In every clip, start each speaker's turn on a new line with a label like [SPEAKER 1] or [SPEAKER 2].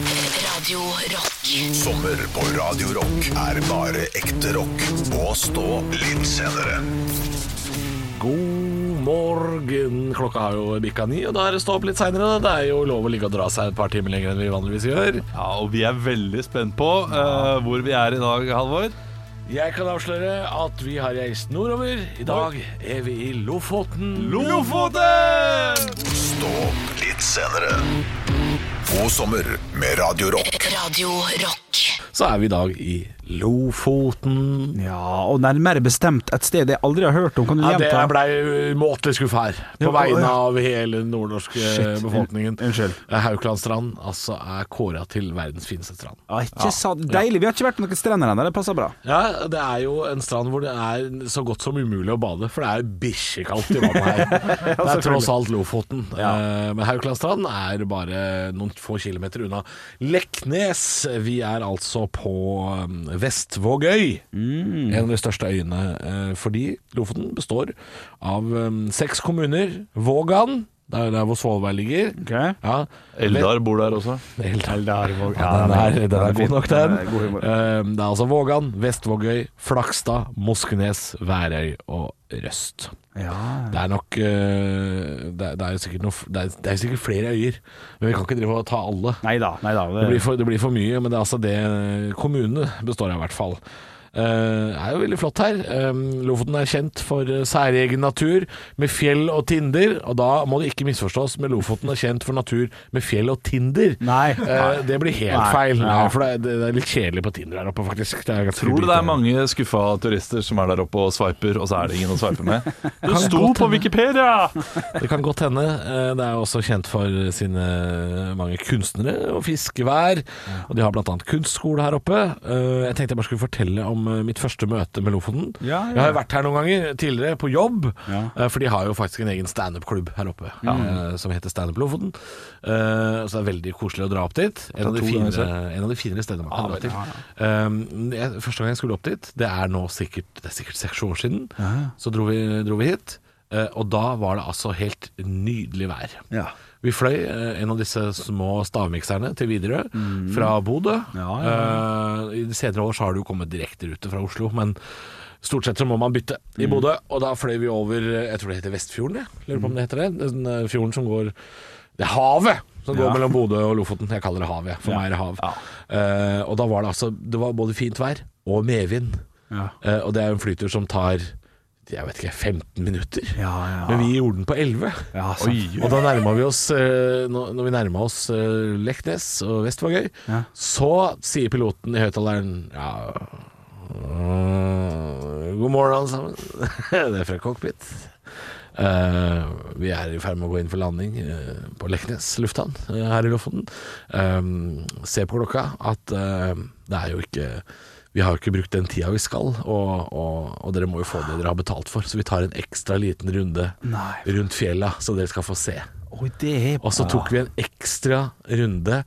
[SPEAKER 1] Radio Rock.
[SPEAKER 2] Sommer på Radio Rock er bare ekte rock. Og stå litt senere.
[SPEAKER 3] God morgen. Klokka har jo bikka ni, og da er det stå opp litt seinere. Det er jo lov å ligge og dra seg et par timer lenger enn vi vanligvis gjør.
[SPEAKER 4] Ja, og vi er veldig spent på eh, hvor vi er i dag, Halvor.
[SPEAKER 3] Jeg kan avsløre at vi har reist nordover. I dag er vi i Lofoten.
[SPEAKER 4] Lofoten!
[SPEAKER 2] Stå opp litt senere. God sommer med Radio Rock.
[SPEAKER 1] Radio Rock.
[SPEAKER 3] Så er vi i dag i Lofoten.
[SPEAKER 5] Ja, og nærmere bestemt et sted jeg aldri har hørt om. Kan du
[SPEAKER 3] Ja, det
[SPEAKER 5] gjenta?
[SPEAKER 3] blei måtelig skuffa her, på
[SPEAKER 5] Ja, å,
[SPEAKER 3] vegne
[SPEAKER 5] ja.
[SPEAKER 3] av hele den nordnorske
[SPEAKER 5] Shit,
[SPEAKER 3] befolkningen.
[SPEAKER 5] un- unnskyld.
[SPEAKER 3] Hauklandstrand altså er kåra til verdens fineste strand.
[SPEAKER 5] ja, ikke sant. Deilig. Vi har ikke vært på noen strender ennå. Det passer bra.
[SPEAKER 3] Ja, det er jo en strand hvor det er så godt som umulig å bade, for det er bikkjekaldt i vannet her. Det er tross alt Lofoten. Eh, Men Hauklandstrand er bare noen få kilometer unna Leknes. Vi er altså på eh, Vestvågøy, en av de største øyene, eh, fordi Lofoten består av eh, seks kommuner. Vågan, det er der hvor Svolvær ligger.
[SPEAKER 5] Ok.
[SPEAKER 3] Ja,
[SPEAKER 4] Eldar bor der også.
[SPEAKER 3] Eldar. Ja, den er, den er god nok, den. Eh, Det er altså Vågan, Vestvågøy, Flakstad, Moskenes, Værøy og Røst. Det er nok eh, Det er, det er, jo sikkert, noe, f- det er, det er sikkert flere øyer, men vi kan ikke drive og ta alle.
[SPEAKER 5] Nei da. Nei da.
[SPEAKER 3] Det blir for, det blir for mye, men det er altså det kommunene består av, i hvert fall. Eh, det er jo veldig flott her. Eh, Lofoten er kjent for eh, særegen natur med fjell og tinder. Og da må det ikke misforstås med Lofoten er kjent for natur med fjell og tinder.
[SPEAKER 5] Nei.
[SPEAKER 3] Eh, det blir helt
[SPEAKER 5] Nei.
[SPEAKER 3] feil. Nei,
[SPEAKER 5] Ja.
[SPEAKER 3] for det er, det er litt kjedelig på Tinder der oppe, faktisk. Det er ganske
[SPEAKER 4] Tror du det
[SPEAKER 3] lite-
[SPEAKER 4] er mange skuffa turister som er der oppe og sveiper, og så er det ingen å sveipe med? Det
[SPEAKER 3] Kan
[SPEAKER 4] sto
[SPEAKER 3] godt hende.
[SPEAKER 4] på Wikipedia!
[SPEAKER 3] Det kan godt hende. Eh, Det er jo også kjent for sine eh, mange kunstnere og fiskevær. Og de har bl.a. kunstskole her oppe. Eh, Jeg tenkte jeg bare skulle fortelle om eh, mitt første møte med Lofoten.
[SPEAKER 5] Ja, ja.
[SPEAKER 3] Jeg har jo vært her noen ganger tidligere, på jobb.
[SPEAKER 5] Ja.
[SPEAKER 3] eh, For de har jo faktisk en egen standup-klubb her oppe, eh, som heter Standup Lofoten. Eh, Så det er veldig koselig å dra opp dit. En av de
[SPEAKER 4] to ganger
[SPEAKER 3] finere, en av de finere stedene man kan dra til. Eh, jeg- Første gang jeg skulle opp dit, det er nå sikkert, det er sikkert seks år siden, så dro vi, dro vi hit. Eh, Og da var det altså helt nydelig vær.
[SPEAKER 5] Ja.
[SPEAKER 3] Vi fløy eh, en av disse små stavmikserne til Widerøe fra Bodø.
[SPEAKER 5] Mm. Ja,
[SPEAKER 3] Eh, I de senere år så har det jo kommet direkterute fra Oslo, men stort sett så må man bytte i
[SPEAKER 5] Mm.
[SPEAKER 3] Bodø. Og da fløy vi over eh, jeg tror det heter Vestfjorden, jeg. Lurer på om det heter det. Den eh, fjorden som går Det er havet! Som går
[SPEAKER 5] Ja.
[SPEAKER 3] mellom Bodø og Lofoten. Jeg kaller det hav, jeg. For
[SPEAKER 5] Ja.
[SPEAKER 3] meg er det hav. Eh, og da var det altså Det var både fint vær og medvind.
[SPEAKER 5] Ja.
[SPEAKER 3] Eh, og det er jo en flytur som tar jeg vet ikke, 15 minutter.
[SPEAKER 5] Ja, ja.
[SPEAKER 3] Men vi gjorde den på 11.
[SPEAKER 5] Ja, sant.
[SPEAKER 3] Og da nærma vi oss eh, Når når vi nærma oss eh, Leknes og Vestvågøy,
[SPEAKER 5] Ja.
[SPEAKER 3] så sier piloten i høyttaleren Ja øh, God morgen, alle sammen. Det er fra cockpit. Eh, vi er i ferd med å gå inn for landing eh, på Leknes lufthavn eh, her i Lofoten. Um, se på klokka at eh, det er jo ikke Vi har jo ikke brukt den tida vi skal, og, og, og dere må jo få det dere har betalt for. Så vi tar en ekstra liten runde
[SPEAKER 5] Nei.
[SPEAKER 3] rundt fjella, så dere skal få se.
[SPEAKER 5] Oi, det er
[SPEAKER 3] Og så tok vi en ekstra runde.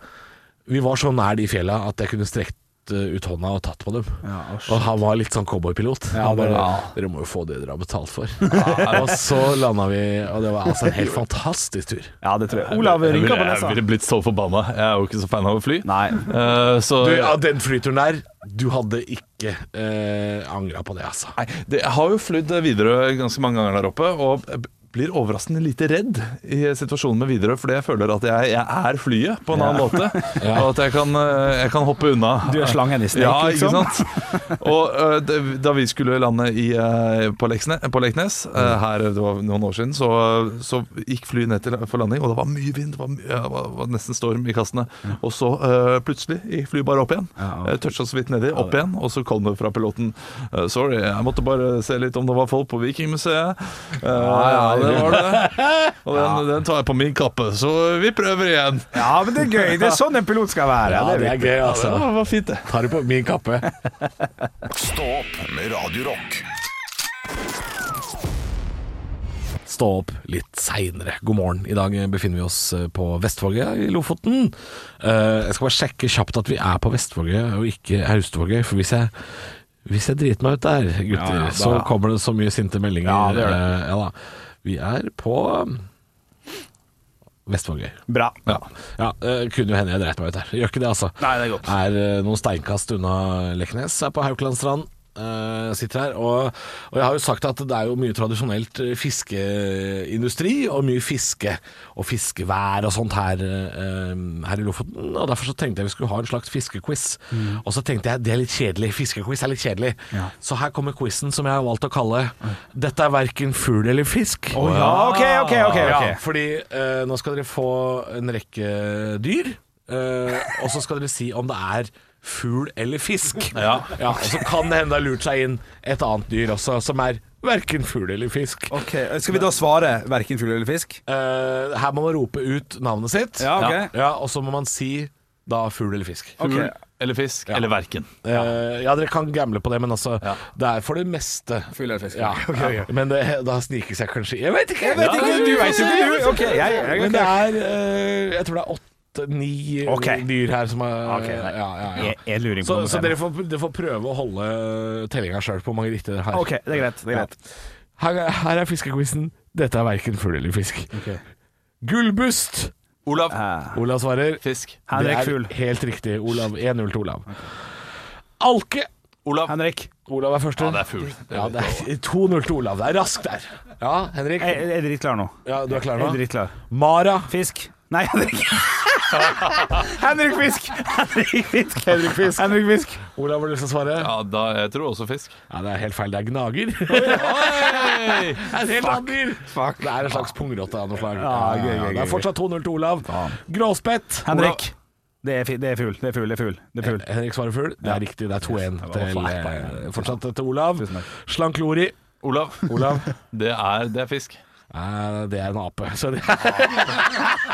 [SPEAKER 3] Vi var så nær de fjella at jeg kunne strekt eh, ut hånda og tatt på dem.
[SPEAKER 5] Ja, å, shit.
[SPEAKER 3] og han var litt sånn cowboypilot.
[SPEAKER 5] Ja,
[SPEAKER 3] han bare
[SPEAKER 5] ja.
[SPEAKER 3] 'Dere må jo få det dere har betalt for'. og så landa vi, og det var altså en helt fantastisk tur.
[SPEAKER 5] Ja, det tror jeg. Olav
[SPEAKER 4] Jeg
[SPEAKER 5] rynker på
[SPEAKER 4] ville, jeg
[SPEAKER 5] nesa.
[SPEAKER 4] ville blitt så forbanna. Jeg er jo ikke så fan av å fly.
[SPEAKER 5] Nei.
[SPEAKER 4] Eh, så
[SPEAKER 3] Du, ja, den flyturen der, du hadde ikke eh, angra på det, altså.
[SPEAKER 4] Nei, det, jeg har jo flydd Widerøe ganske mange ganger der oppe, og jeg blir overraskende lite redd i situasjonen med Widerøe, fordi jeg føler at jeg, jeg er flyet på en annen måte, og at jeg kan, eh, jeg kan hoppe unna.
[SPEAKER 5] Du er slangen i Snake,
[SPEAKER 4] ja,
[SPEAKER 5] liksom.
[SPEAKER 4] ikke sant? Og eh, det- da vi skulle lande i, eh, på Leksne- på Leknes, eh, her det var noen år siden, så, så gikk flyet ned til, for landing, og det var mye vind, det var, mye, det var, var nesten storm i kassene. Og så eh, plutselig gikk flyet bare opp igjen.
[SPEAKER 5] Ja, ja.
[SPEAKER 4] Eh, Toucha så vidt nedi, opp igjen, og så kom det fra piloten. eh, Sorry, jeg måtte bare se litt om det var folk på Vikingmuseet. Eh, ja, det var det. Og den, den tar jeg på min kappe, så vi prøver igjen.
[SPEAKER 5] Ja, men det er gøy. Det er sånn en pilot skal være.
[SPEAKER 3] Ja, det
[SPEAKER 5] det
[SPEAKER 3] er gøy, altså.
[SPEAKER 4] Det var fint, det.
[SPEAKER 3] Tar det på min kappe.
[SPEAKER 2] Stå opp med Radio Rock.
[SPEAKER 3] stå opp litt seinere. God morgen. I dag befinner vi oss eh, på Vestvågøya i Lofoten. Eh, Jeg skal bare sjekke kjapt at vi er på Vestvågøya og ikke Haustvågøy, for hvis jeg hvis jeg driter meg ut der, gutter,
[SPEAKER 5] Ja, ja, da-
[SPEAKER 3] så kommer det så mye sinte meldinger.
[SPEAKER 5] Ja, det gjør det.
[SPEAKER 3] Eh, ja da. Vi er på Vest var gøy.
[SPEAKER 5] Bra.
[SPEAKER 4] Ja.
[SPEAKER 3] Ja, eh, kunne jo hende jeg dreit meg ut her. Gjør ikke det, altså.
[SPEAKER 5] Nei, det er godt.
[SPEAKER 3] Er eh, noen steinkast unna Leknes, er på Haukelandstrand. eh, sitter her, og, og jeg har jo sagt at det er jo mye tradisjonelt eh, fiskeindustri og mye fiske og fiskevær og sånt her, eh, her i Lofoten. Og derfor så tenkte jeg vi skulle ha en slags fiskequiz. Og så tenkte jeg det er litt kjedelig. Fiskequiz er litt kjedelig.
[SPEAKER 5] Mm. Ja.
[SPEAKER 3] Så her kommer quizen som jeg har valgt å kalle 'Dette er verken fugl eller fisk'.
[SPEAKER 5] Å ja. OK, OK, OK. ok.
[SPEAKER 3] Ja, fordi eh, nå skal dere få en rekke dyr, eh, og så skal dere si om det er fugl eller fisk. Ja. og så kan det hende det har lurt seg inn et annet dyr også, som er verken fugl eller fisk.
[SPEAKER 5] Ok, Skal vi da svare verken fugl eller fisk?
[SPEAKER 3] Eh, her må man rope ut navnet sitt,
[SPEAKER 5] Ja, ok.
[SPEAKER 3] ja, og så må man si da fugl eller fisk.
[SPEAKER 5] Ok.
[SPEAKER 4] Fugl eller fisk eller verken.
[SPEAKER 3] Eh, ja, dere kan gamble på det, men altså, det er for det meste
[SPEAKER 5] Fugl eller fisk.
[SPEAKER 3] ja, ja. Men det, da snikes jeg kanskje Jeg vet ikke!
[SPEAKER 5] Jeg vet ikke, du vet ikke, du. Ok, jeg, jeg,
[SPEAKER 3] Men det er eh, Jeg tror det er åtte-ni
[SPEAKER 5] Ok.
[SPEAKER 3] dyr her som er
[SPEAKER 5] Ok, nei.
[SPEAKER 3] ja, ja, ja.
[SPEAKER 5] Jeg- jeg lurer ikke
[SPEAKER 3] så,
[SPEAKER 5] på noe
[SPEAKER 3] så
[SPEAKER 5] tema.
[SPEAKER 3] dere får, dere får prøve å holde tellinga sjøl på hvor mange riktige dere har.
[SPEAKER 5] Ok, det er greit. Det er greit.
[SPEAKER 3] Her, er- her er fiskequizen. Dette er verken fugl eller fisk. Gullbust!
[SPEAKER 4] Olav.
[SPEAKER 5] Eh,
[SPEAKER 3] Olav svarer.
[SPEAKER 4] Fisk.
[SPEAKER 5] Henrik
[SPEAKER 3] det er
[SPEAKER 5] Fugl.
[SPEAKER 3] helt riktig. Olav 1-0 til Olav. Alke.
[SPEAKER 4] Olav.
[SPEAKER 5] Henrik,
[SPEAKER 3] Olav er første.
[SPEAKER 4] Ja, det er fugl.
[SPEAKER 3] Ja, det er 2-0 til Olav. Det er raskt der. Ja, Henrik.
[SPEAKER 5] jeg, jeg er drittklar nå.
[SPEAKER 3] Ja, du er klar
[SPEAKER 5] Jeg
[SPEAKER 3] nå?
[SPEAKER 5] er drittklar.
[SPEAKER 3] Mara.
[SPEAKER 5] Fisk. Nei, Henrik. Henrik Fisk! Henrik Fisk.
[SPEAKER 3] Henrik Fisk.
[SPEAKER 5] Henrik Fisk.
[SPEAKER 3] Olav, har du lyst til å svare?
[SPEAKER 4] Ja, da, jeg tror også fisk.
[SPEAKER 3] Ja, det er helt feil. Det er gnager.
[SPEAKER 4] Oi!
[SPEAKER 3] Det er et helt annet dyr.
[SPEAKER 5] Fuck.
[SPEAKER 3] Det er en slags pungrotte av noe slag.
[SPEAKER 5] Ja, gøy, gøy,
[SPEAKER 3] Ja, det
[SPEAKER 5] gøy,
[SPEAKER 3] er fortsatt 2-0 til Olav. Gråspett.
[SPEAKER 5] Henrik. Det er, fi- det er fugl. Det er fugl. Det er fugl. Det er fugl.
[SPEAKER 3] Henrik svarer fugl. Det er riktig. Det er 2-1
[SPEAKER 5] Det var
[SPEAKER 3] til
[SPEAKER 5] flaut,
[SPEAKER 3] eh, Fortsatt til Olav.
[SPEAKER 5] Tusen takk.
[SPEAKER 3] Slanklori.
[SPEAKER 4] Olav.
[SPEAKER 3] Olav.
[SPEAKER 4] Det er, det er fisk.
[SPEAKER 3] Eh, Det er en ape. Så det er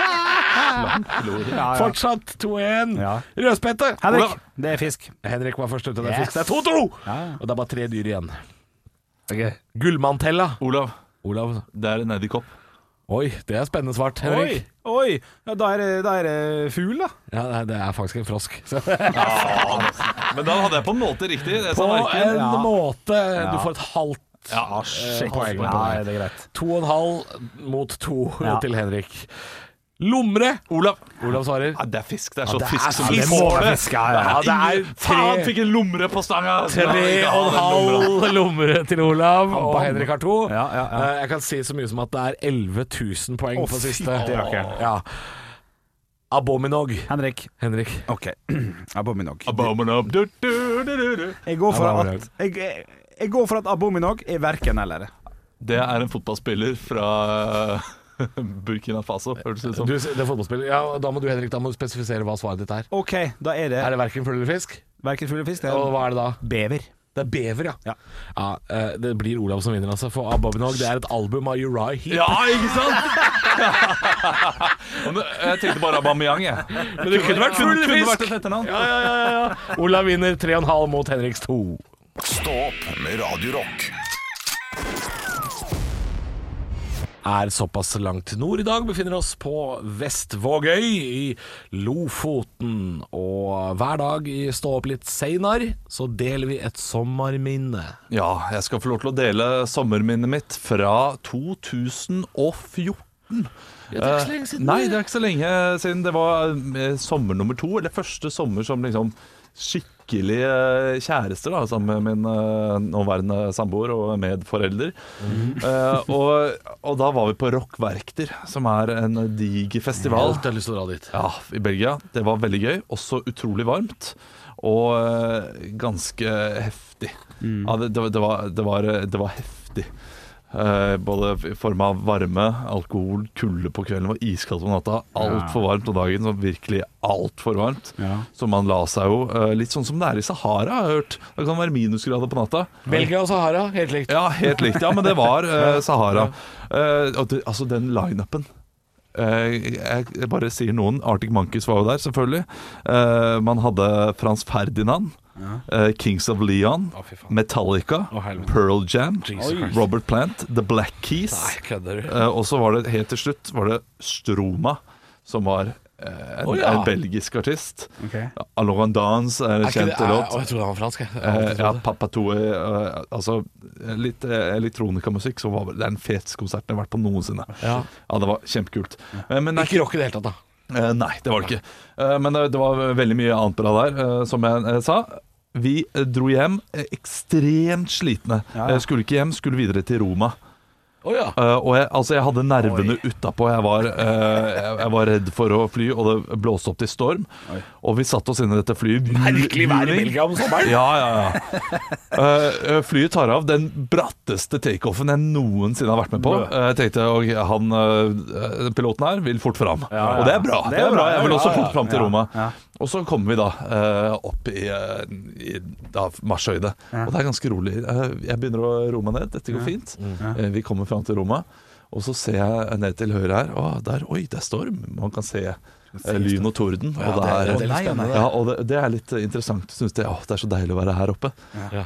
[SPEAKER 5] Ja, ja.
[SPEAKER 3] fortsatt 2-1.
[SPEAKER 5] Ja.
[SPEAKER 3] Rødspette.
[SPEAKER 5] Henrik.
[SPEAKER 3] Olav.
[SPEAKER 5] Det er fisk.
[SPEAKER 3] Henrik var først ute. Det er
[SPEAKER 5] Yes.
[SPEAKER 3] fisk. Det er 2-2.
[SPEAKER 5] Ja.
[SPEAKER 3] Og det er bare tre dyr igjen. Gullmantella.
[SPEAKER 4] Olav.
[SPEAKER 3] Olav.
[SPEAKER 4] Det er en edderkopp.
[SPEAKER 3] Oi, det er spennende svart, Henrik.
[SPEAKER 5] Oi, oi. Ja, da er det- da er det fugl, da.
[SPEAKER 3] Ja, nei, det er faktisk en frosk. Så,
[SPEAKER 4] Men da hadde jeg på en måte riktig.
[SPEAKER 3] på
[SPEAKER 4] Jeg sa verken.
[SPEAKER 3] en
[SPEAKER 5] Ja.
[SPEAKER 3] måte. Du får et halvt
[SPEAKER 4] Ja,
[SPEAKER 3] eh, poeng på det.
[SPEAKER 5] Nei, det er greit.
[SPEAKER 3] To og en halv mot to
[SPEAKER 5] Ja.
[SPEAKER 3] til Henrik. Lomre.
[SPEAKER 4] Olav.
[SPEAKER 3] Olav svarer.
[SPEAKER 4] Ja, det er fisk. Det er så
[SPEAKER 3] det er
[SPEAKER 4] fisk som
[SPEAKER 3] fisk.
[SPEAKER 4] vi får det.
[SPEAKER 5] Ja, ja, ja.
[SPEAKER 3] Ja, det er
[SPEAKER 4] Ingen-
[SPEAKER 3] tre-
[SPEAKER 4] Faen, fikk en lomre på stanga!
[SPEAKER 3] Tre og en halv lomre til Olav, og Henrik har to.
[SPEAKER 5] Ja, ja, ja.
[SPEAKER 3] Eh, Jeg kan si så mye som at det er 11 000 poeng
[SPEAKER 5] Å,
[SPEAKER 3] på
[SPEAKER 5] fy,
[SPEAKER 3] siste.
[SPEAKER 5] det rakker.
[SPEAKER 3] Ja. Abominog.
[SPEAKER 5] Henrik.
[SPEAKER 3] Henrik.
[SPEAKER 5] OK. Abominog.
[SPEAKER 4] Abominab. Du, du, du, du, du.
[SPEAKER 5] Jeg går for
[SPEAKER 3] Abominog.
[SPEAKER 5] at, jeg, jeg- jeg går for at Abominog er verken eller.
[SPEAKER 4] Det er en fotballspiller fra Burkina Faso, høres det ut som.
[SPEAKER 3] Du, det er fotballspiller. Ja, og da må du Henrik, da må du spesifisere hva svaret ditt er.
[SPEAKER 5] OK, da er
[SPEAKER 3] Er
[SPEAKER 5] det
[SPEAKER 3] det verken fugl eller fisk?
[SPEAKER 5] verken fugl eller fisk. Det
[SPEAKER 3] Og
[SPEAKER 5] er
[SPEAKER 3] hva er det da?
[SPEAKER 5] bever.
[SPEAKER 3] Det er bever, ja.
[SPEAKER 5] Ja.
[SPEAKER 3] Ja, eh, det blir Olav som vinner, altså. For Abominog det er et album av Uriah Heep.
[SPEAKER 4] Ja, ikke sant? Ja, men Jeg tenkte bare Aubameyang, jeg. Men
[SPEAKER 3] det kunne vært full
[SPEAKER 4] Kunne
[SPEAKER 3] fisk.
[SPEAKER 4] vært et etternavn.
[SPEAKER 3] Ja, ja, ja, ja. Olav vinner 3,5 mot Henriks 2.
[SPEAKER 2] Stå opp med Radio Rock.
[SPEAKER 3] Er såpass langt nord i dag. Befinner oss på Vestvågøy i Lofoten. Og hver dag i Stå opp litt seinar, så deler vi et sommerminne.
[SPEAKER 4] Ja, jeg skal få lov til å dele sommerminnet mitt fra 2014.
[SPEAKER 3] det er ikke så lenge siden.
[SPEAKER 4] Eh, Nei, det er ikke så lenge siden. Det var eh, sommer nummer to, eller første sommer som liksom skikkelig eh, kjæreste, da, sammen med min eh, nåværende samboer og medforelder.
[SPEAKER 3] Mm.
[SPEAKER 4] Eh, og, og da var vi på Rockverkter, som er en diger festival.
[SPEAKER 3] Alt jeg har lyst til å dra dit.
[SPEAKER 4] Ja, i Belgia. Det var veldig gøy. Også utrolig varmt. Og eh, ganske heftig. Ja, det, det, det, var, det, var, det var heftig. Eh, både i form av varme, alkohol, kulde på kvelden. Det var iskaldt om natta. Altfor varmt om dagen. Så virkelig altfor varmt.
[SPEAKER 5] Ja.
[SPEAKER 4] Så man la seg jo eh, litt sånn som det er i Sahara, har jeg hørt. Det kan være minusgrader på natta.
[SPEAKER 3] Belgia og Sahara, helt likt.
[SPEAKER 4] Ja, helt likt. Ja, men det var eh, Sahara. Eh, og det, altså, den lineupen eh, jeg, jeg bare sier noen. Arctic Monkeys var jo der, selvfølgelig. Eh, man hadde Frans Ferdinand. eh, Kings of Leon,
[SPEAKER 3] fy faen.
[SPEAKER 4] Metallica,
[SPEAKER 3] Å, helvete.
[SPEAKER 4] Pearl Jam,
[SPEAKER 3] Jesus Christ.
[SPEAKER 4] Robert Plant, The Black Keys.
[SPEAKER 3] Nei, kødder du?
[SPEAKER 4] Eh, og så var det helt til slutt var det Stroma, som var eh, en,
[SPEAKER 3] Å, ja.
[SPEAKER 4] en belgisk artist.
[SPEAKER 5] Ok.
[SPEAKER 4] Alain Dance er en
[SPEAKER 3] Er ikke det,
[SPEAKER 4] kjent
[SPEAKER 3] er,
[SPEAKER 4] låt.
[SPEAKER 3] å, jeg trodde han var fransk, jeg. jeg. har
[SPEAKER 4] Eh,
[SPEAKER 3] alltid
[SPEAKER 4] ja,
[SPEAKER 3] trodd det.
[SPEAKER 4] Papatoe eh, Altså litt eh, elektronikamusikk. Så var vel- det er den feteste konserten jeg har vært på noensinne.
[SPEAKER 3] Ja.
[SPEAKER 4] det var kjempekult. Eh, men det er
[SPEAKER 3] Ikke rock i det hele tatt, da.
[SPEAKER 4] Eh, nei, det var det ikke. Eh, men det, det var veldig mye annet bra der, eh, som jeg eh, sa. Vi eh, dro hjem eh, ekstremt slitne.
[SPEAKER 5] Ja, ja.
[SPEAKER 4] Eh, skulle ikke hjem, skulle videre til Roma.
[SPEAKER 3] Å ja.
[SPEAKER 4] Eh, og jeg, altså, jeg hadde nervene utapå. Jeg, var, eh, jeg, jeg var redd for å fly, og det blåste opp til storm. Og vi satte oss inn i dette flyet.
[SPEAKER 3] Merkelig vær i
[SPEAKER 4] Juling.
[SPEAKER 3] Belgia om sommeren.
[SPEAKER 4] Ja, ja, ja. Eh, eh, flyet tar av den bratteste takeoffen jeg noensinne har vært med på. Eh, Jeg tenkte ok, han eh, piloten her vil fort fram, og det er bra. Det er bra. Jeg vil også
[SPEAKER 5] ja,
[SPEAKER 4] fort fram til
[SPEAKER 5] ja,
[SPEAKER 4] Roma.
[SPEAKER 5] ja.
[SPEAKER 4] Og så kommer vi da eh, opp i, eh, i da, marsjhøyde, og det er ganske rolig. Eh, jeg begynner å roe meg ned, dette går fint. Eh, vi kommer fram til Roma, og så ser jeg ned til høyre her, og der, oi, det er storm. Man kan se eh, lyn og torden, og det er,
[SPEAKER 5] det er litt spennende, det.
[SPEAKER 4] ja, og det, det er litt eh, interessant. Synes det, åh, det er så deilig å være her oppe.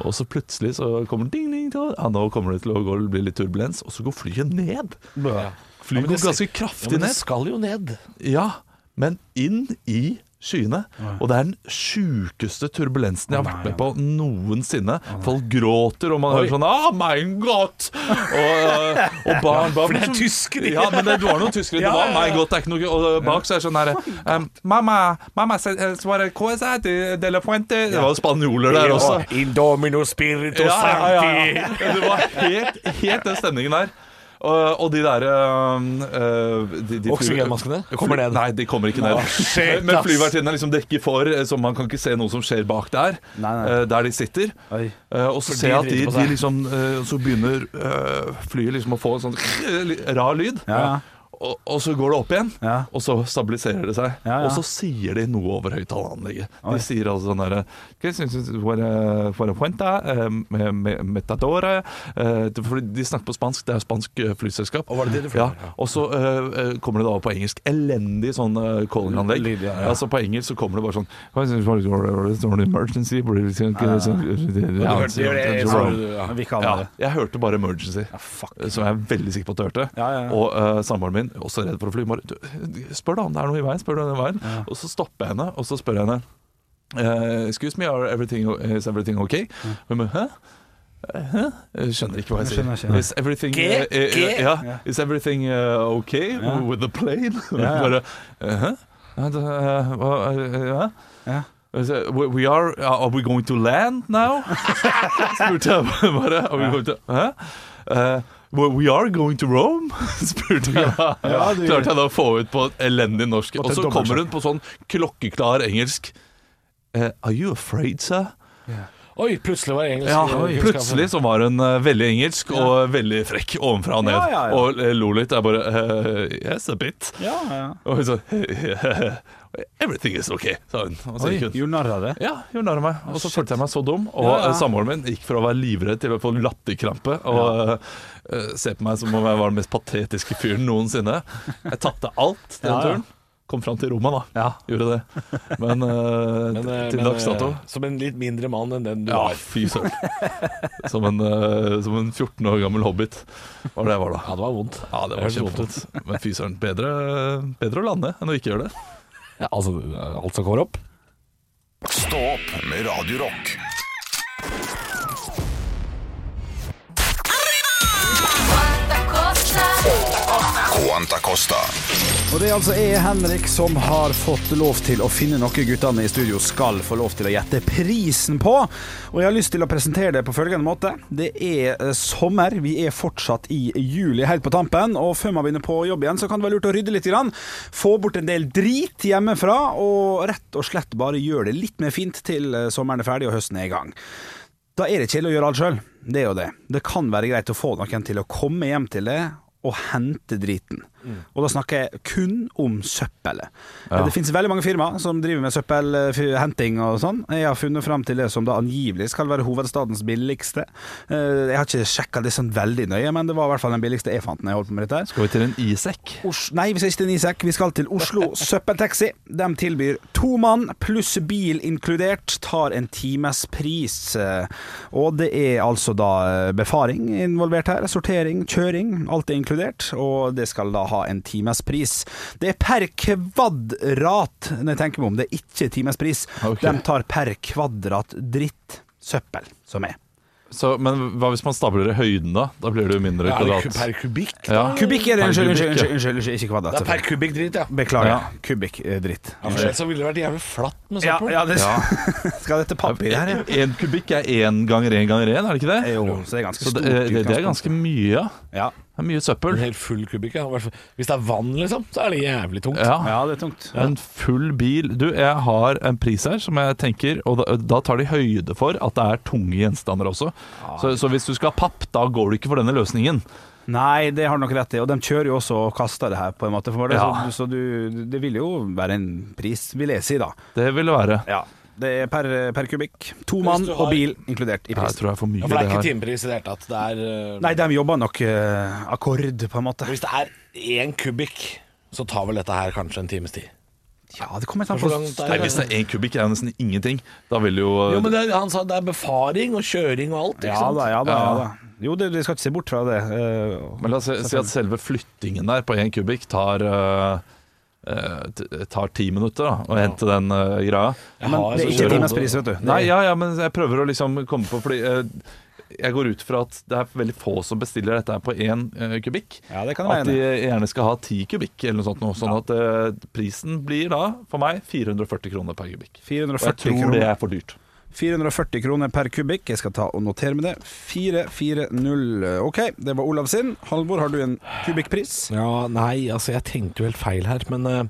[SPEAKER 4] Og så plutselig så kommer det ding, ding, ding, ja, nå kommer det til å gå, bli litt turbulens, og så går flyet ned. Flyet
[SPEAKER 3] men det
[SPEAKER 4] går ganske
[SPEAKER 3] ser- Ja,
[SPEAKER 4] kraftig
[SPEAKER 3] men det
[SPEAKER 4] ned.
[SPEAKER 3] skal jo ned.
[SPEAKER 4] Ja, men inn i skyene. Og det er den sjukeste turbulensen jeg har vært med på noensinne. Folk gråter, og man hører sånn Oh my God! Og, eh, og barn bak
[SPEAKER 3] For det er tyske, de.
[SPEAKER 4] Ja, men det var noen tyskere. Det
[SPEAKER 3] Ja,
[SPEAKER 4] var
[SPEAKER 3] ja, ja.
[SPEAKER 4] my God, det er ikke noe Og eh, bak så er det sånn herre Mamma, mamma, se- eh, svare cosa de, de la fuente Det var jo spanjoler der også.
[SPEAKER 3] Indomino spirito
[SPEAKER 4] Det var helt, helt den stemningen der. Og, og de der øhm, øh, de- de fly-
[SPEAKER 3] Oksygenmaskene? Kommer ned?
[SPEAKER 4] Nei, de kommer ikke ned.
[SPEAKER 3] shit,
[SPEAKER 4] Men
[SPEAKER 3] ass.
[SPEAKER 4] flyvertinnene liksom dekker for, eh, så man kan ikke se noe som skjer bak der.
[SPEAKER 5] Nei, nei.
[SPEAKER 4] eh, Der de sitter.
[SPEAKER 5] Oi.
[SPEAKER 4] Eh, Og så ser jeg at de,
[SPEAKER 3] driter på
[SPEAKER 4] de
[SPEAKER 3] seg.
[SPEAKER 4] liksom eh, Så begynner eh, flyet liksom å få en sånn rar lyd.
[SPEAKER 5] Ja, ja.
[SPEAKER 4] Og, og så går det opp igjen,
[SPEAKER 5] Ja.
[SPEAKER 4] og så stabiliserer det seg.
[SPEAKER 5] Ja, ja.
[SPEAKER 4] Og så sier de noe over høyttaleranlegget. De sier altså sånn derre «Que synes du for, eh, for en puente, eh, me- me- Metadore eh, det- fordi De snakker på spansk, det er spansk eh, flyselskap.
[SPEAKER 3] Og var det det du
[SPEAKER 4] ja.
[SPEAKER 3] følte? Ja.
[SPEAKER 4] og så eh, eh, kommer det da over på engelsk. Elendig sånn eh, callinganlegg.
[SPEAKER 5] Lyd, ja, ja.
[SPEAKER 4] Altså På engelsk så kommer det bare sånn «Que synes du for- for en emergency?»
[SPEAKER 3] Ja, du hørte det, jeg sa det.
[SPEAKER 5] Men vi kan
[SPEAKER 4] ja,
[SPEAKER 5] det.
[SPEAKER 4] jeg hørte bare 'emergency', som jeg er veldig sikker på at du hørte.
[SPEAKER 5] Ja, ja, ja.
[SPEAKER 4] Og eh, samboeren min, også redd for å fly, bare «Du, 'Spør da om det er noe i veien', spør du om det er noe i veien. Og så stopper jeg henne, og så spør jeg henne eh, 'Excuse me, are everything, o- is everything ok?' Og hun bare 'Hæ?' Eh, Hæ? Jeg skjønner ikke hva jeg
[SPEAKER 5] Jeg skjønner,
[SPEAKER 4] sier.
[SPEAKER 5] skjønner.
[SPEAKER 4] Is everything,
[SPEAKER 3] G?
[SPEAKER 4] eh, eh,
[SPEAKER 3] G?
[SPEAKER 4] eh, ja, is everything eh, okay with the plane? Bare, eh, hæ? Ja, det, eh, hva, eh, ja.
[SPEAKER 5] Ja.
[SPEAKER 4] Og så, We we are, uh, are we going to land now? spurte jeg bare. Are we going to, hæ? Eh, well, we are going to Rome, spurte
[SPEAKER 5] du-
[SPEAKER 4] jeg. Klarte jeg da å få ut på et elendig norsk. Og
[SPEAKER 3] til
[SPEAKER 4] så
[SPEAKER 3] dobbeltsjekk.
[SPEAKER 4] kommer hun på sånn klokkeklar engelsk. Eh, are you afraid, sir?
[SPEAKER 3] Oi, plutselig var det engelsk.
[SPEAKER 4] Ja,
[SPEAKER 3] Oi,
[SPEAKER 4] plutselig så var hun eh, veldig engelsk og veldig frekk ovenfra og ned.
[SPEAKER 5] Ja, ja, ja.
[SPEAKER 4] Og eh, lo litt. Jeg bare eh, Yes, a bit.
[SPEAKER 5] Ja, ja.
[SPEAKER 4] Og hun sa Everything is okay, sa hun. Og så
[SPEAKER 5] Oi,
[SPEAKER 4] gikk hun.
[SPEAKER 5] gjorde narr av det?
[SPEAKER 4] Ja, gjorde narr av meg. Og så
[SPEAKER 5] shit.
[SPEAKER 4] følte jeg meg så dum. Og
[SPEAKER 5] Ja, ja.
[SPEAKER 4] eh, samboeren min gikk fra å være livredd til å få latterkrampe og eh, eh, se på meg som om jeg var den mest patetiske fyren noensinne. Jeg tapte alt den
[SPEAKER 5] Ja, ja.
[SPEAKER 4] turen. Kom fram til Roma, da.
[SPEAKER 5] Ja.
[SPEAKER 4] Gjorde det. Men, eh,
[SPEAKER 3] Men, eh,
[SPEAKER 4] til
[SPEAKER 3] men,
[SPEAKER 4] dags dato
[SPEAKER 3] eh, Som en litt mindre mann enn den du
[SPEAKER 4] Ja,
[SPEAKER 3] var.
[SPEAKER 4] fy søren. Som, en, eh, som en 14 år gammel hobbit var det jeg var
[SPEAKER 3] Ja,
[SPEAKER 4] da.
[SPEAKER 3] det var vondt.
[SPEAKER 4] Ja, det var
[SPEAKER 3] Hørtes vondt ut.
[SPEAKER 4] kjempevondt. Men fy søren, bedre, bedre å lande enn å ikke gjøre det.
[SPEAKER 3] Ja, altså, alt som kommer opp.
[SPEAKER 2] Stå opp med Radio Rock. Quanta Costa.
[SPEAKER 5] Og det er altså jeg, Henrik, som har fått lov til å finne noe guttene i studio skal få lov til å gjette prisen på. Og jeg har lyst til å presentere det på følgende måte. Det er eh, sommer, vi er fortsatt i juli helt på tampen, og før man begynner på jobb igjen, så kan det være lurt å rydde litt. Grann. Få bort en del drit hjemmefra, og rett og slett bare gjøre det litt mer fint til eh, sommeren er ferdig og høsten er i gang. Da er det kjedelig å gjøre alt sjøl. Det er jo det. Det kan være greit å få noen til å komme hjem til det og hente driten. Og da snakker jeg kun om søppelet. Det finnes veldig mange firmaer som driver med søppelhenting og sånn. Jeg har funnet fram til det som da angivelig skal være hovedstadens billigste. Eh, Jeg har ikke sjekka det sånn veldig nøye, men det var i hvert fall den billigste jeg fant når jeg holdt på med dette. her.
[SPEAKER 4] Skal vi til en isekk?
[SPEAKER 5] Os Nei, vi skal ikke til Nisek. Vi skal til Oslo Søppeltaxi. De tilbyr to mann pluss bil inkludert. Tar en times pris. Eh, Og det er altså da eh, befaring involvert her. Sortering, kjøring. Alt er inkludert. Og det skal da ha ha en timespris. Det er per kvadrat, når jeg tenker meg om, det er ikke timespris.
[SPEAKER 4] Ok.
[SPEAKER 5] De tar per kvadrat dritt søppel som er.
[SPEAKER 4] Så, men hva hvis man stabler i høyden, da? Da blir det jo mindre
[SPEAKER 3] Er det
[SPEAKER 4] kvadrat.
[SPEAKER 3] ku- per kubikk? da?
[SPEAKER 4] Ja.
[SPEAKER 5] Kubikk er det,
[SPEAKER 4] Per
[SPEAKER 5] unnskyld,
[SPEAKER 4] kubikk,
[SPEAKER 5] unnskyld,
[SPEAKER 4] ja.
[SPEAKER 5] unnskyld, unnskyld, unnskyld ikke kvadrat.
[SPEAKER 3] Det er per kubikk dritt, ja.
[SPEAKER 5] Beklager.
[SPEAKER 4] Ja.
[SPEAKER 5] Kubikk eh, dritt.
[SPEAKER 3] ja for ellers så ville det vært jævlig flatt med
[SPEAKER 5] Ja,
[SPEAKER 3] søppel.
[SPEAKER 5] ja, det skal dette papiret her, ja.
[SPEAKER 4] En kubikk er én ganger én ganger én, er det ikke det?
[SPEAKER 5] Jo, så det er ganske
[SPEAKER 4] Så
[SPEAKER 5] stort.
[SPEAKER 4] det, det, det er
[SPEAKER 5] utgangspunkt.
[SPEAKER 4] ganske mye, ja.
[SPEAKER 5] ja.
[SPEAKER 4] Det er mye
[SPEAKER 3] En
[SPEAKER 4] søppel.
[SPEAKER 3] helt full kubikk, ja. I hvert fall- Hvis det er vann, liksom, så er det jævlig tungt.
[SPEAKER 4] Ah. Ja.
[SPEAKER 5] ja, det er tungt.
[SPEAKER 4] En full bil. Du, jeg har en pris her som jeg tenker Og da, da tar de høyde for at det er tunge gjenstander også. Så, så hvis du skal ha papp, da går du ikke for denne løsningen.
[SPEAKER 5] Nei, det har du nok rett i. Og de kjører jo også og kaster det her, på en måte. For det,
[SPEAKER 4] Ja.
[SPEAKER 5] Så, så du, det vil jo være en pris, vil jeg si, da.
[SPEAKER 4] Det ville være
[SPEAKER 5] Ja. Det er per, per kubikk. To mann
[SPEAKER 3] du har-
[SPEAKER 5] og bil inkludert i
[SPEAKER 4] Ja,
[SPEAKER 5] prisen.
[SPEAKER 4] Jeg tror jeg får mye
[SPEAKER 3] Ja, for
[SPEAKER 4] i
[SPEAKER 3] det
[SPEAKER 4] det
[SPEAKER 3] er ikke
[SPEAKER 4] her.
[SPEAKER 3] timepris i det hele tatt. Det er, eh,
[SPEAKER 5] Nei, de jobber nok eh, akkord, på en måte.
[SPEAKER 3] Hvis det er én kubikk, så tar vel dette her kanskje en times tid.
[SPEAKER 5] Ja, det kommer an
[SPEAKER 3] Hvor
[SPEAKER 5] på
[SPEAKER 3] langt er
[SPEAKER 4] Nei, hvis det er én kubikk, er det nesten ingenting. Da vil jo
[SPEAKER 3] Jo, men det, er- Han sa det er befaring og kjøring og alt. Ikke
[SPEAKER 5] Ja
[SPEAKER 3] sant?
[SPEAKER 5] da, ja da. Ja. da. Jo, det- du skal ikke se bort fra det. eh,
[SPEAKER 4] Men la oss si at selve flyttingen der på én kubikk tar øh, øh, t- tar ti minutter da, å hente den øh, greia.
[SPEAKER 3] Jeg
[SPEAKER 5] men
[SPEAKER 3] har
[SPEAKER 5] det
[SPEAKER 3] så
[SPEAKER 5] er ikke
[SPEAKER 3] store
[SPEAKER 5] timens
[SPEAKER 3] hoder.
[SPEAKER 5] pris, vet du.
[SPEAKER 4] Nei, ja, ja, men jeg prøver å liksom komme på Fordi øh, jeg går ut fra at det er veldig få som bestiller dette her på én øh, kubikk.
[SPEAKER 5] Ja, det kan
[SPEAKER 4] At
[SPEAKER 5] jeg
[SPEAKER 4] de
[SPEAKER 5] mene.
[SPEAKER 4] gjerne skal ha ti kubikk, eller noe sånt. Noe, sånn at øh, prisen blir da, for meg, 440 kroner per kubikk. Og jeg
[SPEAKER 5] 440
[SPEAKER 4] tror det
[SPEAKER 5] kroner.
[SPEAKER 4] er for dyrt.
[SPEAKER 5] 440 kroner per kubikk. Jeg skal ta og notere med det. 440. OK, det var Olav sin. Halvor, har du en kubikkpris?
[SPEAKER 3] Ja, nei, altså jeg tenkte jo helt feil her, men eh,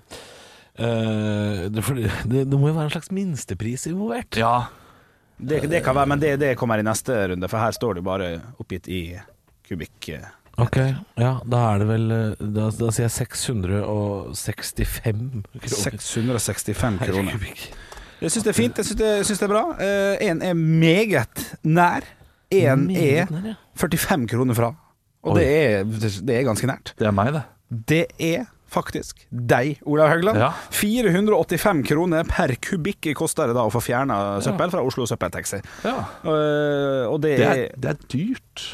[SPEAKER 3] eh, det, for, det, det må jo være en slags minstepris involvert.
[SPEAKER 4] Ja,
[SPEAKER 5] Det, det kan være, men det, det kommer i neste runde, for her står det bare oppgitt i kubikk. eh,
[SPEAKER 3] Ok, ja, da er det vel eh, Da, da sier jeg 665 kroner.
[SPEAKER 5] 665
[SPEAKER 3] per
[SPEAKER 5] kroner.
[SPEAKER 3] kubikk.
[SPEAKER 5] Jeg syns det er fint, jeg syns det, jeg synes det er bra. Én er meget nær. Én er
[SPEAKER 3] Meget nær, ja.
[SPEAKER 5] 45 kroner fra. Og
[SPEAKER 4] Oi.
[SPEAKER 5] det er, det er ganske nært.
[SPEAKER 4] det er meg, det.
[SPEAKER 5] Det er faktisk deg, Olav Haugland.
[SPEAKER 4] Ja.
[SPEAKER 5] 485 kroner per kubikk koster det da å få fjerna søppel fra Oslo Søppeltaxi.
[SPEAKER 4] Ja.
[SPEAKER 5] Eh, og det
[SPEAKER 4] Det,
[SPEAKER 5] er
[SPEAKER 4] er, det er dyrt.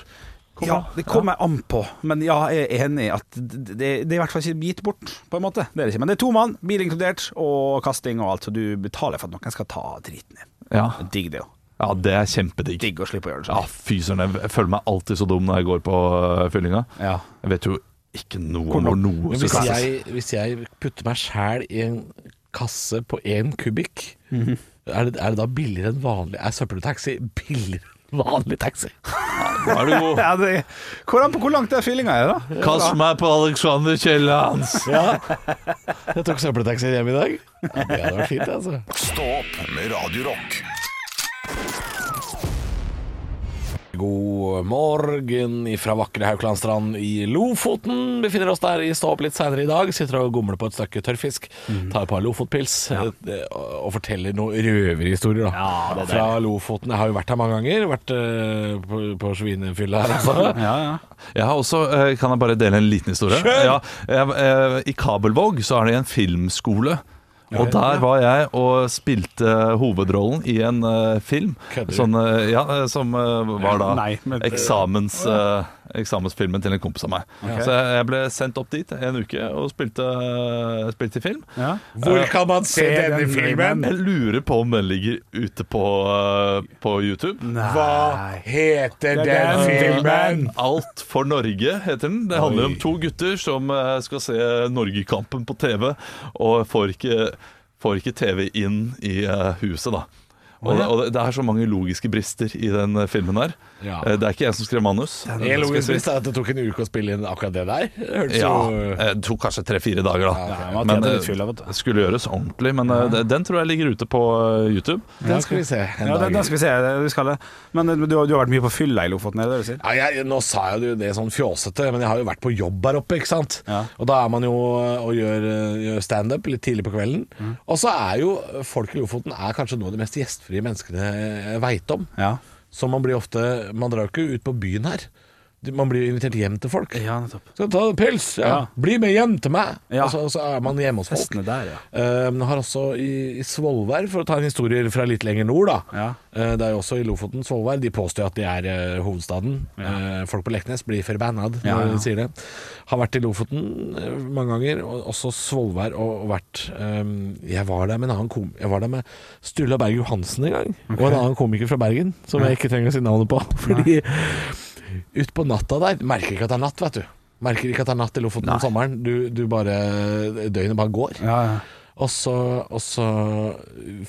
[SPEAKER 4] Kom
[SPEAKER 5] ja,
[SPEAKER 4] da.
[SPEAKER 5] det kommer jeg an på, men ja, jeg er enig i at det, det er i hvert fall ikke gitt bort, på en måte. Det er det ikke. Men det er to mann, bil inkludert, og kasting og alt, så du betaler for at noen skal ta driten din.
[SPEAKER 4] Ja.
[SPEAKER 5] Digg det jo.
[SPEAKER 4] ja, det er kjempedigg.
[SPEAKER 5] Digg å slippe å gjøre det
[SPEAKER 4] Ja,
[SPEAKER 5] sånn.
[SPEAKER 4] fy søren. Jeg føler meg alltid så dum når jeg går på øh, fyllinga.
[SPEAKER 5] Ja.
[SPEAKER 4] Jeg vet jo ikke noe om
[SPEAKER 5] Hvordan-
[SPEAKER 4] hvor noe
[SPEAKER 3] Men
[SPEAKER 4] som
[SPEAKER 3] hvis
[SPEAKER 4] skal
[SPEAKER 3] jeg, hvis jeg putter meg sjæl i en kasse på én kubikk, er, det, er det da billigere enn vanlig Er søppeltaxi billigere enn vanlig taxi?
[SPEAKER 4] Nå er du god.
[SPEAKER 5] Ja, det, hvor, an på hvor langt er fyllinga er, da?
[SPEAKER 4] Kast meg på Alexander Kiellands!
[SPEAKER 3] Ja. Jeg tok søppeltaxi hjem i dag. Ja, det hadde vært fint, altså.
[SPEAKER 2] Stå opp med Radio Rock.
[SPEAKER 3] God morgen ifra vakre Haukelandstrand i Lofoten. Befinner oss der i Stå opp litt seinere i dag. Sitter og gumler på et stykke tørrfisk.
[SPEAKER 5] Mhm.
[SPEAKER 3] Tar et par Lofotpils eh, og forteller noen røverhistorier, da. Fra Lofoten. Jeg har jo vært her mange ganger. Vært eh, på, på svinefylla her, altså.
[SPEAKER 5] Ja, ja.
[SPEAKER 4] Jeg har også, eh, Kan jeg bare dele en liten historie? Ja, jeg, eh, I Kabelvåg så er det en filmskole. Og der var jeg og spilte hovedrollen i en eh, film
[SPEAKER 3] Kødder du?
[SPEAKER 4] sånn, eh, ja, eh, som eh, var da
[SPEAKER 5] Nei, men-
[SPEAKER 4] eksamens, eh, eksamensfilmen til en kompis av meg. Så jeg, jeg ble sendt opp dit en uke og spilte, eh, spilte i film.
[SPEAKER 5] ja.
[SPEAKER 3] Hvor kan man se
[SPEAKER 5] denne filmen?
[SPEAKER 4] Jeg lurer på om den ligger ute på, eh, på YouTube.
[SPEAKER 3] Hva heter den filmen?
[SPEAKER 4] Alt for Norge heter den. Det handler om to gutter som eh, skal se Norgekampen på TV, og får ikke, får ikke TV inn i eh, huset, da. Og, det, og det- det er så mange logiske brister i den eh, filmen her.
[SPEAKER 3] Ja.
[SPEAKER 4] Eh, Det er ikke jeg som skrev manus.
[SPEAKER 3] En
[SPEAKER 4] skal jeg
[SPEAKER 3] logisk
[SPEAKER 4] si.
[SPEAKER 3] brist er at det tok en uke å spille inn akkurat det der. Det Hørtes
[SPEAKER 4] Ja,
[SPEAKER 3] jo
[SPEAKER 4] eh, det tok kanskje tre-fire dager, da.
[SPEAKER 5] Ja, man
[SPEAKER 4] Men
[SPEAKER 5] tjente
[SPEAKER 4] eh,
[SPEAKER 5] litt fylla, vet du.
[SPEAKER 4] det skulle gjøres ordentlig. Men eh, det- den tror jeg ligger ute på eh, YouTube.
[SPEAKER 3] Den skal vi se. En
[SPEAKER 5] Ja,
[SPEAKER 3] dag.
[SPEAKER 5] den, den skal vi se. det Vi skal det. Men du, har- du har vært mye på fylla i Lofoten, er det det du sier?
[SPEAKER 3] Ja, jeg, nå sa jeg jo det sånn fjåsete, men jeg har jo vært på jobb her oppe, ikke sant.
[SPEAKER 5] Ja.
[SPEAKER 3] Og da er man jo eh, og gjør, eh, gjør standup litt tidlig på kvelden.
[SPEAKER 5] Mm.
[SPEAKER 3] Og så er jo eh, folk i Lofoten er kanskje noen av de mest gjestfrie menneskene jeg veit om.
[SPEAKER 5] Ja.
[SPEAKER 3] Så man blir ofte Man drar jo ikke ut på byen her. du- Man blir jo invitert hjem til folk.
[SPEAKER 5] Ja, nettopp.
[SPEAKER 3] Skal du ta en pils? Ja.
[SPEAKER 5] Ja.
[SPEAKER 3] Bli med hjem til meg!
[SPEAKER 5] Ja.
[SPEAKER 3] Og, så, og så er man hjemme hos folk.
[SPEAKER 5] Festene der, ja.
[SPEAKER 3] Eh, men har også i, i Svolvær, for å ta en historie fra litt lenger nord, da.
[SPEAKER 5] Ja.
[SPEAKER 3] Eh, det er jo også i Lofoten, Svolvær. De påstår at de er eh, hovedstaden. Eh, folk på Leknes blir forbannad
[SPEAKER 5] Ja,
[SPEAKER 3] når
[SPEAKER 5] ja.
[SPEAKER 3] de sier det. Har vært i Lofoten eh, mange ganger, og også Svolvær og, og vært eh, Jeg var der med en annen kom Jeg var der med Sturla Berg Johansen en gang, og en annen komiker fra Bergen, som jeg ikke trenger å si navnet på. Fordi utpå natta der Merker ikke at det er natt, vet du. Merker ikke at det er natt i Lofoten om sommeren. Du, du bare Døgnet bare går.
[SPEAKER 5] Ja, ja.
[SPEAKER 3] Og så, og så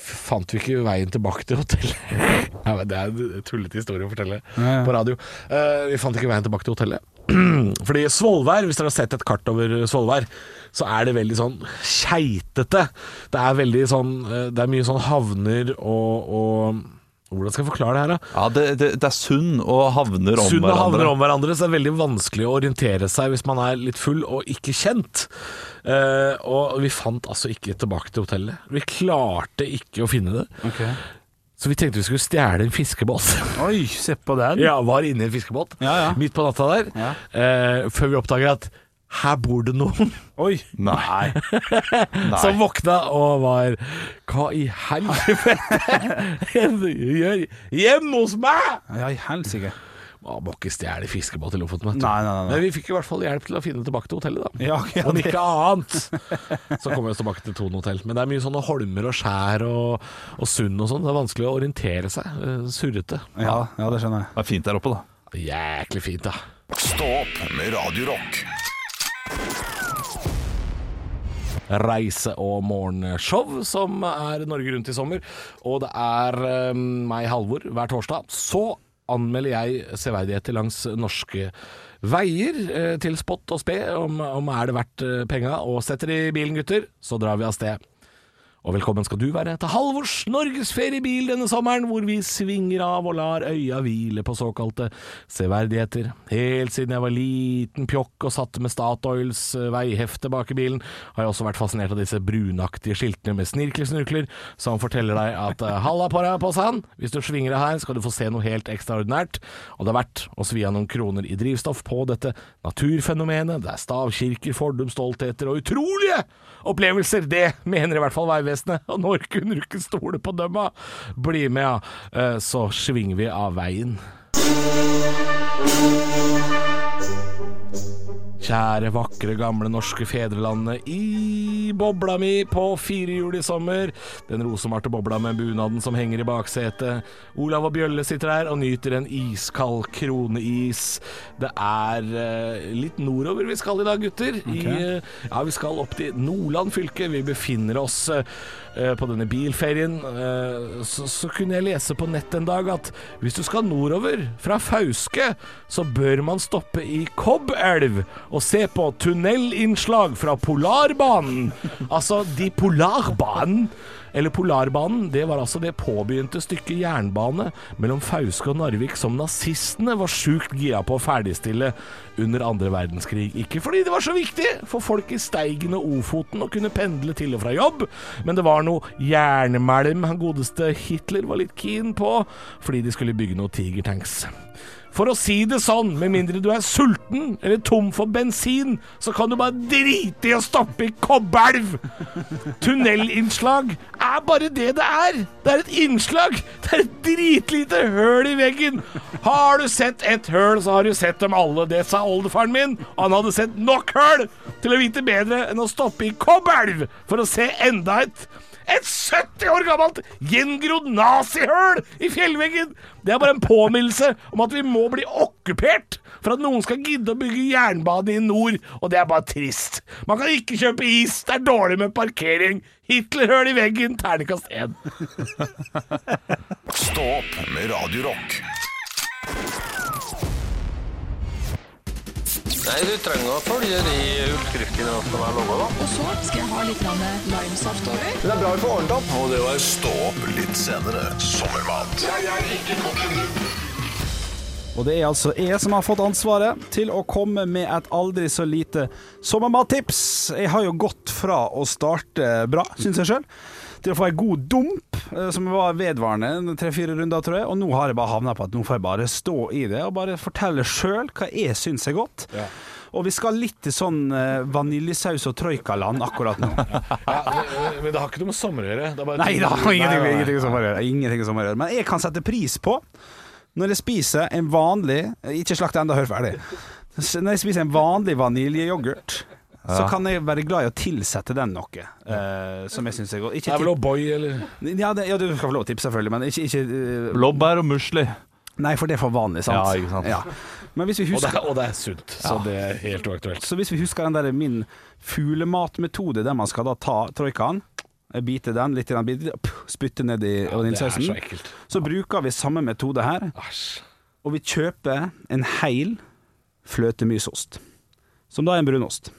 [SPEAKER 3] fant vi ikke veien tilbake til hotellet. Nei, men det er en tullete historie å fortelle
[SPEAKER 5] Ja, ja.
[SPEAKER 3] på radio. Eh, vi fant ikke veien tilbake til hotellet. Fordi Svolvær, hvis dere har sett et kart over Svolvær, så er det veldig sånn keitete. Det er veldig sånn eh, Det er mye sånn havner og, og Hvordan skal jeg forklare det her, da?
[SPEAKER 4] Ja, det, det, det er sund og havner om
[SPEAKER 3] Sunn og havner
[SPEAKER 4] hverandre.
[SPEAKER 3] om hverandre, så det er veldig vanskelig å orientere seg hvis man er litt full og ikke kjent. Eh, og vi fant altså ikke tilbake til hotellet. Vi klarte ikke å finne det. Så vi tenkte vi skulle stjele en fiskebåt.
[SPEAKER 5] Oi, se på den.
[SPEAKER 3] ja, var inne i en fiskebåt
[SPEAKER 5] Ja, ja.
[SPEAKER 3] midt på natta der,
[SPEAKER 5] Ja.
[SPEAKER 3] eh, før vi oppdager at her bor det noen
[SPEAKER 5] Oi.
[SPEAKER 4] Nei.
[SPEAKER 3] som våkna og var Hva i helvete gjør hjemme hos meg?!
[SPEAKER 5] Ja, i helsike.
[SPEAKER 3] Man Ah, må ikke stjele fiskebåt i Lofoten, vet du.
[SPEAKER 5] Nei, nei, nei, nei.
[SPEAKER 3] Men vi fikk i hvert fall hjelp til å finne tilbake til hotellet, da.
[SPEAKER 5] Ja, ok, ja,
[SPEAKER 3] Om
[SPEAKER 5] det-
[SPEAKER 3] ikke annet, så kommer vi oss tilbake til Thon hotell. Men det er mye sånne holmer og skjær og, og sund og sånn. Det er vanskelig å orientere seg. Eh, Surrete.
[SPEAKER 5] Ja, ja, det skjønner jeg.
[SPEAKER 4] Det er fint der oppe, da.
[SPEAKER 3] Jæklig fint, da.
[SPEAKER 2] Stå opp med Radio Rock.
[SPEAKER 3] Reise- og morgenshow som er Norge Rundt i sommer. Og det er eh, meg, Halvor, hver torsdag. Så anmelder jeg severdigheter langs norske veier eh, til spott og spe, om, om er det verdt eh, penga. Og setter i bilen, gutter, så drar vi av sted. Og velkommen skal du være til Halvors norgesferiebil denne sommeren, hvor vi svinger av og lar øya hvile på såkalte severdigheter. Helt siden jeg var liten pjokk og satt med Statoils eh, veihefte bak i bilen, har jeg også vært fascinert av disse brunaktige skiltene med snirklesnurkler, som forteller deg at eh, halla på deg, Possan, hvis du svinger deg her, skal du få se noe helt ekstraordinært. Og det er verdt å svi av noen kroner i drivstoff på dette naturfenomenet. Det er stavkirker, fordums stoltheter og utrolige opplevelser. Det mener i hvert fall Vegvesenet. Og når kunne du ikke stole på dem, da? Bli med, ja. Eh, Så svinger vi av veien. Kjære, vakre, gamle norske fedrelandet. I bobla mi på firehjul i sommer. Den rosemalte bobla med bunaden som henger i baksetet. Olav og Bjølle sitter her og nyter en iskald kroneis. Det er eh, litt nordover vi skal i dag, gutter. I, eh, ja, vi skal opp til Nordland fylke. Vi befinner oss eh, eh, på denne bilferien. Eh, så, så kunne jeg lese på nett en dag at hvis du skal nordover fra Fauske, så bør man stoppe i Kobbelv og se på tunnelinnslag fra Polarbanen. Altså, de Polarbanen eller Polarbanen, det var altså det påbegynte stykket jernbane mellom Fauske og Narvik som nazistene var sjukt gira på å ferdigstille under andre verdenskrig. Ikke fordi det var så viktig for folk i Steigen og Ofoten å kunne pendle til og fra jobb, men det var noe jernmalm han godeste Hitler var litt keen på, fordi de skulle bygge noe tigertanks. For å si det sånn, med mindre du er sulten eller tom for bensin, så kan du bare drite i å stoppe i Kobbelv! Tunnelinnslag er bare det det er. Det er et innslag. Det er et dritlite høl i veggen. Har du sett ett høl, så har du sett dem alle. Det sa oldefaren min. Han hadde sett nok høl til å vite bedre enn å stoppe i Kobbelv for å se enda et. Et 70 år gammelt gjengrodd nazihøl i fjellveggen! Det er bare en påminnelse om at vi må bli okkupert for at noen skal gidde å bygge jernbane i nord, og det er bare trist. Man kan ikke kjøpe is, det er dårlig med parkering. Hitlerhøl i veggen, terningkast én.
[SPEAKER 2] Stå opp med Radio Rock.
[SPEAKER 6] Nei, du trenger å følge de oppskriftene som er laga, da.
[SPEAKER 1] Og så skal jeg ha litt grann limesaft over.
[SPEAKER 6] Det er bra vi får ordnet opp. Og det var
[SPEAKER 2] Stå opp litt senere. Sommermat
[SPEAKER 5] Og det er altså jeg som har fått ansvaret til å komme med et aldri så lite sommermattips. Jeg har jo gått fra å starte bra, syns jeg sjøl, til å få en god dump, eh, som var vedvarende tre-fire runder, tror jeg. Og nå har jeg bare havna på at nå får jeg bare stå i det, og bare fortelle sjøl hva jeg syns er godt. Og vi skal litt til sånn eh, vaniljesaus og troikaland akkurat nå.
[SPEAKER 3] men, men det har ikke noe med sommer å gjøre. Det er bare-
[SPEAKER 5] Nei da,
[SPEAKER 3] Nei, nei,
[SPEAKER 5] ingenting,
[SPEAKER 3] nei.
[SPEAKER 5] ingenting som har å gjøre. Ingenting som har å gjøre. Men jeg kan sette pris på når jeg spiser en vanlig Ikke slakt enda, hør ferdig. Så Når jeg spiser en vanlig vaniljeyoghurt, så kan jeg være glad i å tilsette den noe. eh, som jeg syns er godt.
[SPEAKER 3] Det
[SPEAKER 5] Ikke
[SPEAKER 3] er vel O'boy eller
[SPEAKER 5] til- ja, det, ja, du skal få lov å tippe, selvfølgelig, men ikke, ikke eh,
[SPEAKER 4] Blåbær og musli.
[SPEAKER 5] Nei, for det er for vanlig, sant?
[SPEAKER 4] Ja, ikke sant.
[SPEAKER 5] Men hvis vi
[SPEAKER 3] og det,
[SPEAKER 5] husker
[SPEAKER 3] er, og det er sunt, så det er helt uaktuelt.
[SPEAKER 5] Så hvis vi husker den der min fuglematmetode, der man skal da ta troikaen, bite den litt, i den biten, puh, spytte ned i
[SPEAKER 3] Det er
[SPEAKER 5] vaniljesausen
[SPEAKER 3] så ekkelt.
[SPEAKER 5] så bruker vi samme metode her,
[SPEAKER 3] Æsj.
[SPEAKER 5] og vi kjøper en heil fløtemysost, som da er en brunost.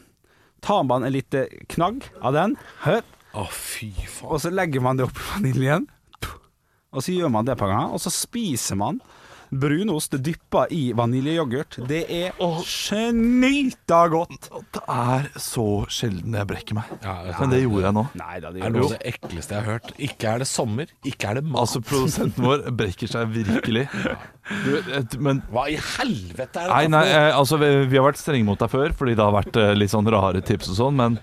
[SPEAKER 5] Tar man en liten knagg av den, hø,
[SPEAKER 3] Å, fy faen.
[SPEAKER 5] og så legger man det oppi vaniljen, og så gjør man det et par ganger, og så spiser man brunost dyppa i vaniljeyoghurt. Det er snyta godt!
[SPEAKER 4] Det er så sjelden jeg brekker meg.
[SPEAKER 3] Ja, det er
[SPEAKER 4] Men det gjorde jeg nå.
[SPEAKER 5] Nei da, det
[SPEAKER 3] Det er noe
[SPEAKER 5] gjør det
[SPEAKER 3] av
[SPEAKER 5] også.
[SPEAKER 3] det ekleste jeg har hørt. Ikke er det sommer, ikke er det mat.
[SPEAKER 4] Altså, produsenten vår brekker seg virkelig. Du, et- men
[SPEAKER 3] Hva i helvete er det?
[SPEAKER 4] Nei, nei, eh, altså vi, vi har vært strenge mot deg før fordi det har vært eh, litt sånn rare tips og sånn, men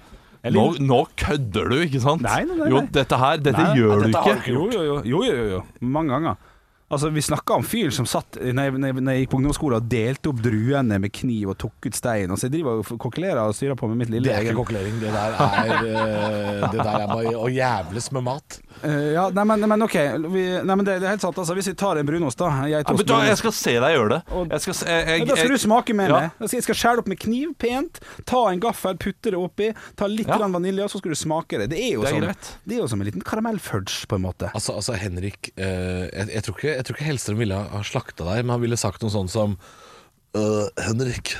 [SPEAKER 4] nå, nå kødder du, ikke sant?
[SPEAKER 5] Nei, nei, nei,
[SPEAKER 4] Jo,
[SPEAKER 5] nei.
[SPEAKER 4] dette her, altså, dette
[SPEAKER 5] Nei, nei,
[SPEAKER 4] gjør
[SPEAKER 5] dette
[SPEAKER 4] du
[SPEAKER 3] har
[SPEAKER 4] ikke.
[SPEAKER 3] du ikke
[SPEAKER 5] Jo, jo, jo. jo, jo, jo, jo. Mange ganger. Altså, Vi snakka om fyren som satt når jeg, når jeg- når jeg gikk på ungdomsskolen og delte opp druene med kniv og tok ut stein. Altså, jeg driver og kokkelerer og styrer på med mitt lille
[SPEAKER 3] Det er ikke kokkelering. Det der er, eh, det der er bare å jævles med mat.
[SPEAKER 5] Eh, ja, nei, men, men OK. Vi, nei, men det, det er helt sant. altså Hvis vi tar en brunost, da jeg
[SPEAKER 4] Ja,
[SPEAKER 5] tar
[SPEAKER 4] men da, jeg skal se deg gjøre det. Jeg skal se, jeg, jeg,
[SPEAKER 5] Men Da skal du smake med
[SPEAKER 4] Ja.
[SPEAKER 5] meg. Altså, Jeg skal skjære opp med kniv pent, ta en gaffel, putte det oppi, ta litt
[SPEAKER 4] Ja.
[SPEAKER 5] grann vanilje, og så skal du smake det. Det er jo,
[SPEAKER 4] Det er
[SPEAKER 5] som,
[SPEAKER 4] greit.
[SPEAKER 5] det er jo som en liten karamellfudge, på en måte.
[SPEAKER 3] Altså, altså Henrik, eh, jeg, jeg, tror ikke, jeg tror ikke Hellstrøm ville ha ha slakta deg, men han ville sagt noe sånt som «Øh, Henrik,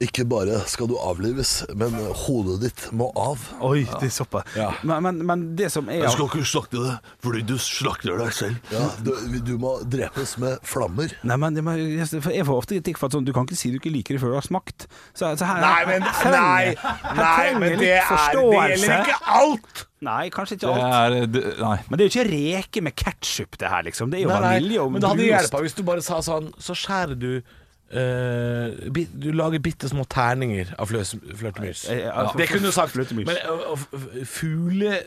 [SPEAKER 3] ikke bare skal du avlives, men hodet ditt må av.
[SPEAKER 5] Oi, det er såpass.
[SPEAKER 3] Ja.
[SPEAKER 5] Men, men, men det som er
[SPEAKER 7] ikke slakte det, fordi du slakter deg selv.
[SPEAKER 3] Ja, du, du må drepes med flammer.
[SPEAKER 5] Nei, men det- men jeg jeg får ofte kritikk for at sånn, du kan ikke si du ikke liker det før du har smakt. Så, så her,
[SPEAKER 7] Nei, men-
[SPEAKER 5] her
[SPEAKER 7] nei, Nei,
[SPEAKER 5] her trenger
[SPEAKER 7] men
[SPEAKER 5] jeg
[SPEAKER 7] det,
[SPEAKER 5] litt
[SPEAKER 7] er, det gjelder
[SPEAKER 5] forståelse.
[SPEAKER 7] ikke alt!
[SPEAKER 5] Nei, kanskje ikke
[SPEAKER 4] det
[SPEAKER 5] alt.
[SPEAKER 4] er, det, nei.
[SPEAKER 5] Men det er jo ikke reker med ketsjup, det her, liksom. Det er jo vanilje og
[SPEAKER 3] men det hadde
[SPEAKER 5] brunost.
[SPEAKER 3] hjelpa hvis du bare sa sånn Så skjærer du eh, bi- Du lager bitte små terninger av fløs- flørtemys.
[SPEAKER 5] Eh, ja,
[SPEAKER 3] Det kunne du sagt.
[SPEAKER 5] fløtemys.
[SPEAKER 3] Men eh, f- f-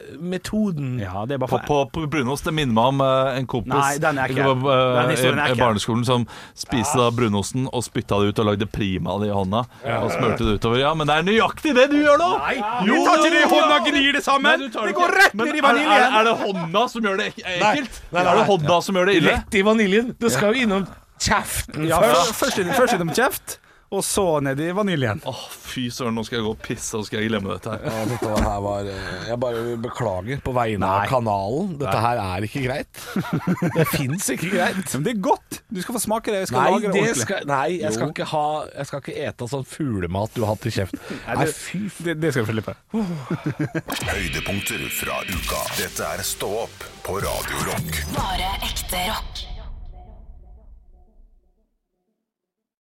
[SPEAKER 3] fuglemetoden
[SPEAKER 5] Ja, det er bare
[SPEAKER 4] På,
[SPEAKER 5] for
[SPEAKER 4] på, på brunost, det minner meg om eh, en kompis
[SPEAKER 5] Nei, den er ikke
[SPEAKER 4] Det var, eh,
[SPEAKER 5] Den historien er
[SPEAKER 4] i- i
[SPEAKER 5] ikke.
[SPEAKER 4] barneskolen som spiste da brunosten og spytta det ut og lagde prima det i hånda. Og smurte det utover. Ja, men det er nøyaktig det du gjør nå! Nei,
[SPEAKER 5] Du tar ikke det i hånda og gnir det sammen! Det går rett ned i
[SPEAKER 4] Er,
[SPEAKER 5] vaniljen!
[SPEAKER 4] er, er det hånda som gjør det ek- ekkelt?
[SPEAKER 3] Nei, nei,
[SPEAKER 4] Er det
[SPEAKER 3] nei.
[SPEAKER 4] hånda som gjør det ille?
[SPEAKER 3] Rett i vaniljen. Du skal jo innom kjeften
[SPEAKER 5] Ja,
[SPEAKER 3] først.
[SPEAKER 5] først- først inn- Først innom kjeft, og så ned i vaniljen.
[SPEAKER 4] Åh, fy søren, nå skal jeg gå og pisse, og så skal jeg glemme dette her.
[SPEAKER 3] Ja, dette her var eh, Jeg bare beklager på vegne av kanalen. Dette her er ikke greit. Det fins ikke greit.
[SPEAKER 5] Men det er godt! Du skal få smake det. Jeg skal
[SPEAKER 3] Nei,
[SPEAKER 5] lage det
[SPEAKER 3] det
[SPEAKER 5] ordentlig.
[SPEAKER 3] skal, nei jeg, skal ikke ha, jeg skal ikke ete av sånn fuglemat du har hatt i kjeften. Nei, fy f...
[SPEAKER 5] Det, det skal du få slippe.
[SPEAKER 2] Høydepunkter fra uka. Dette er Stå opp på Radio Rock.
[SPEAKER 8] Bare ekte rock.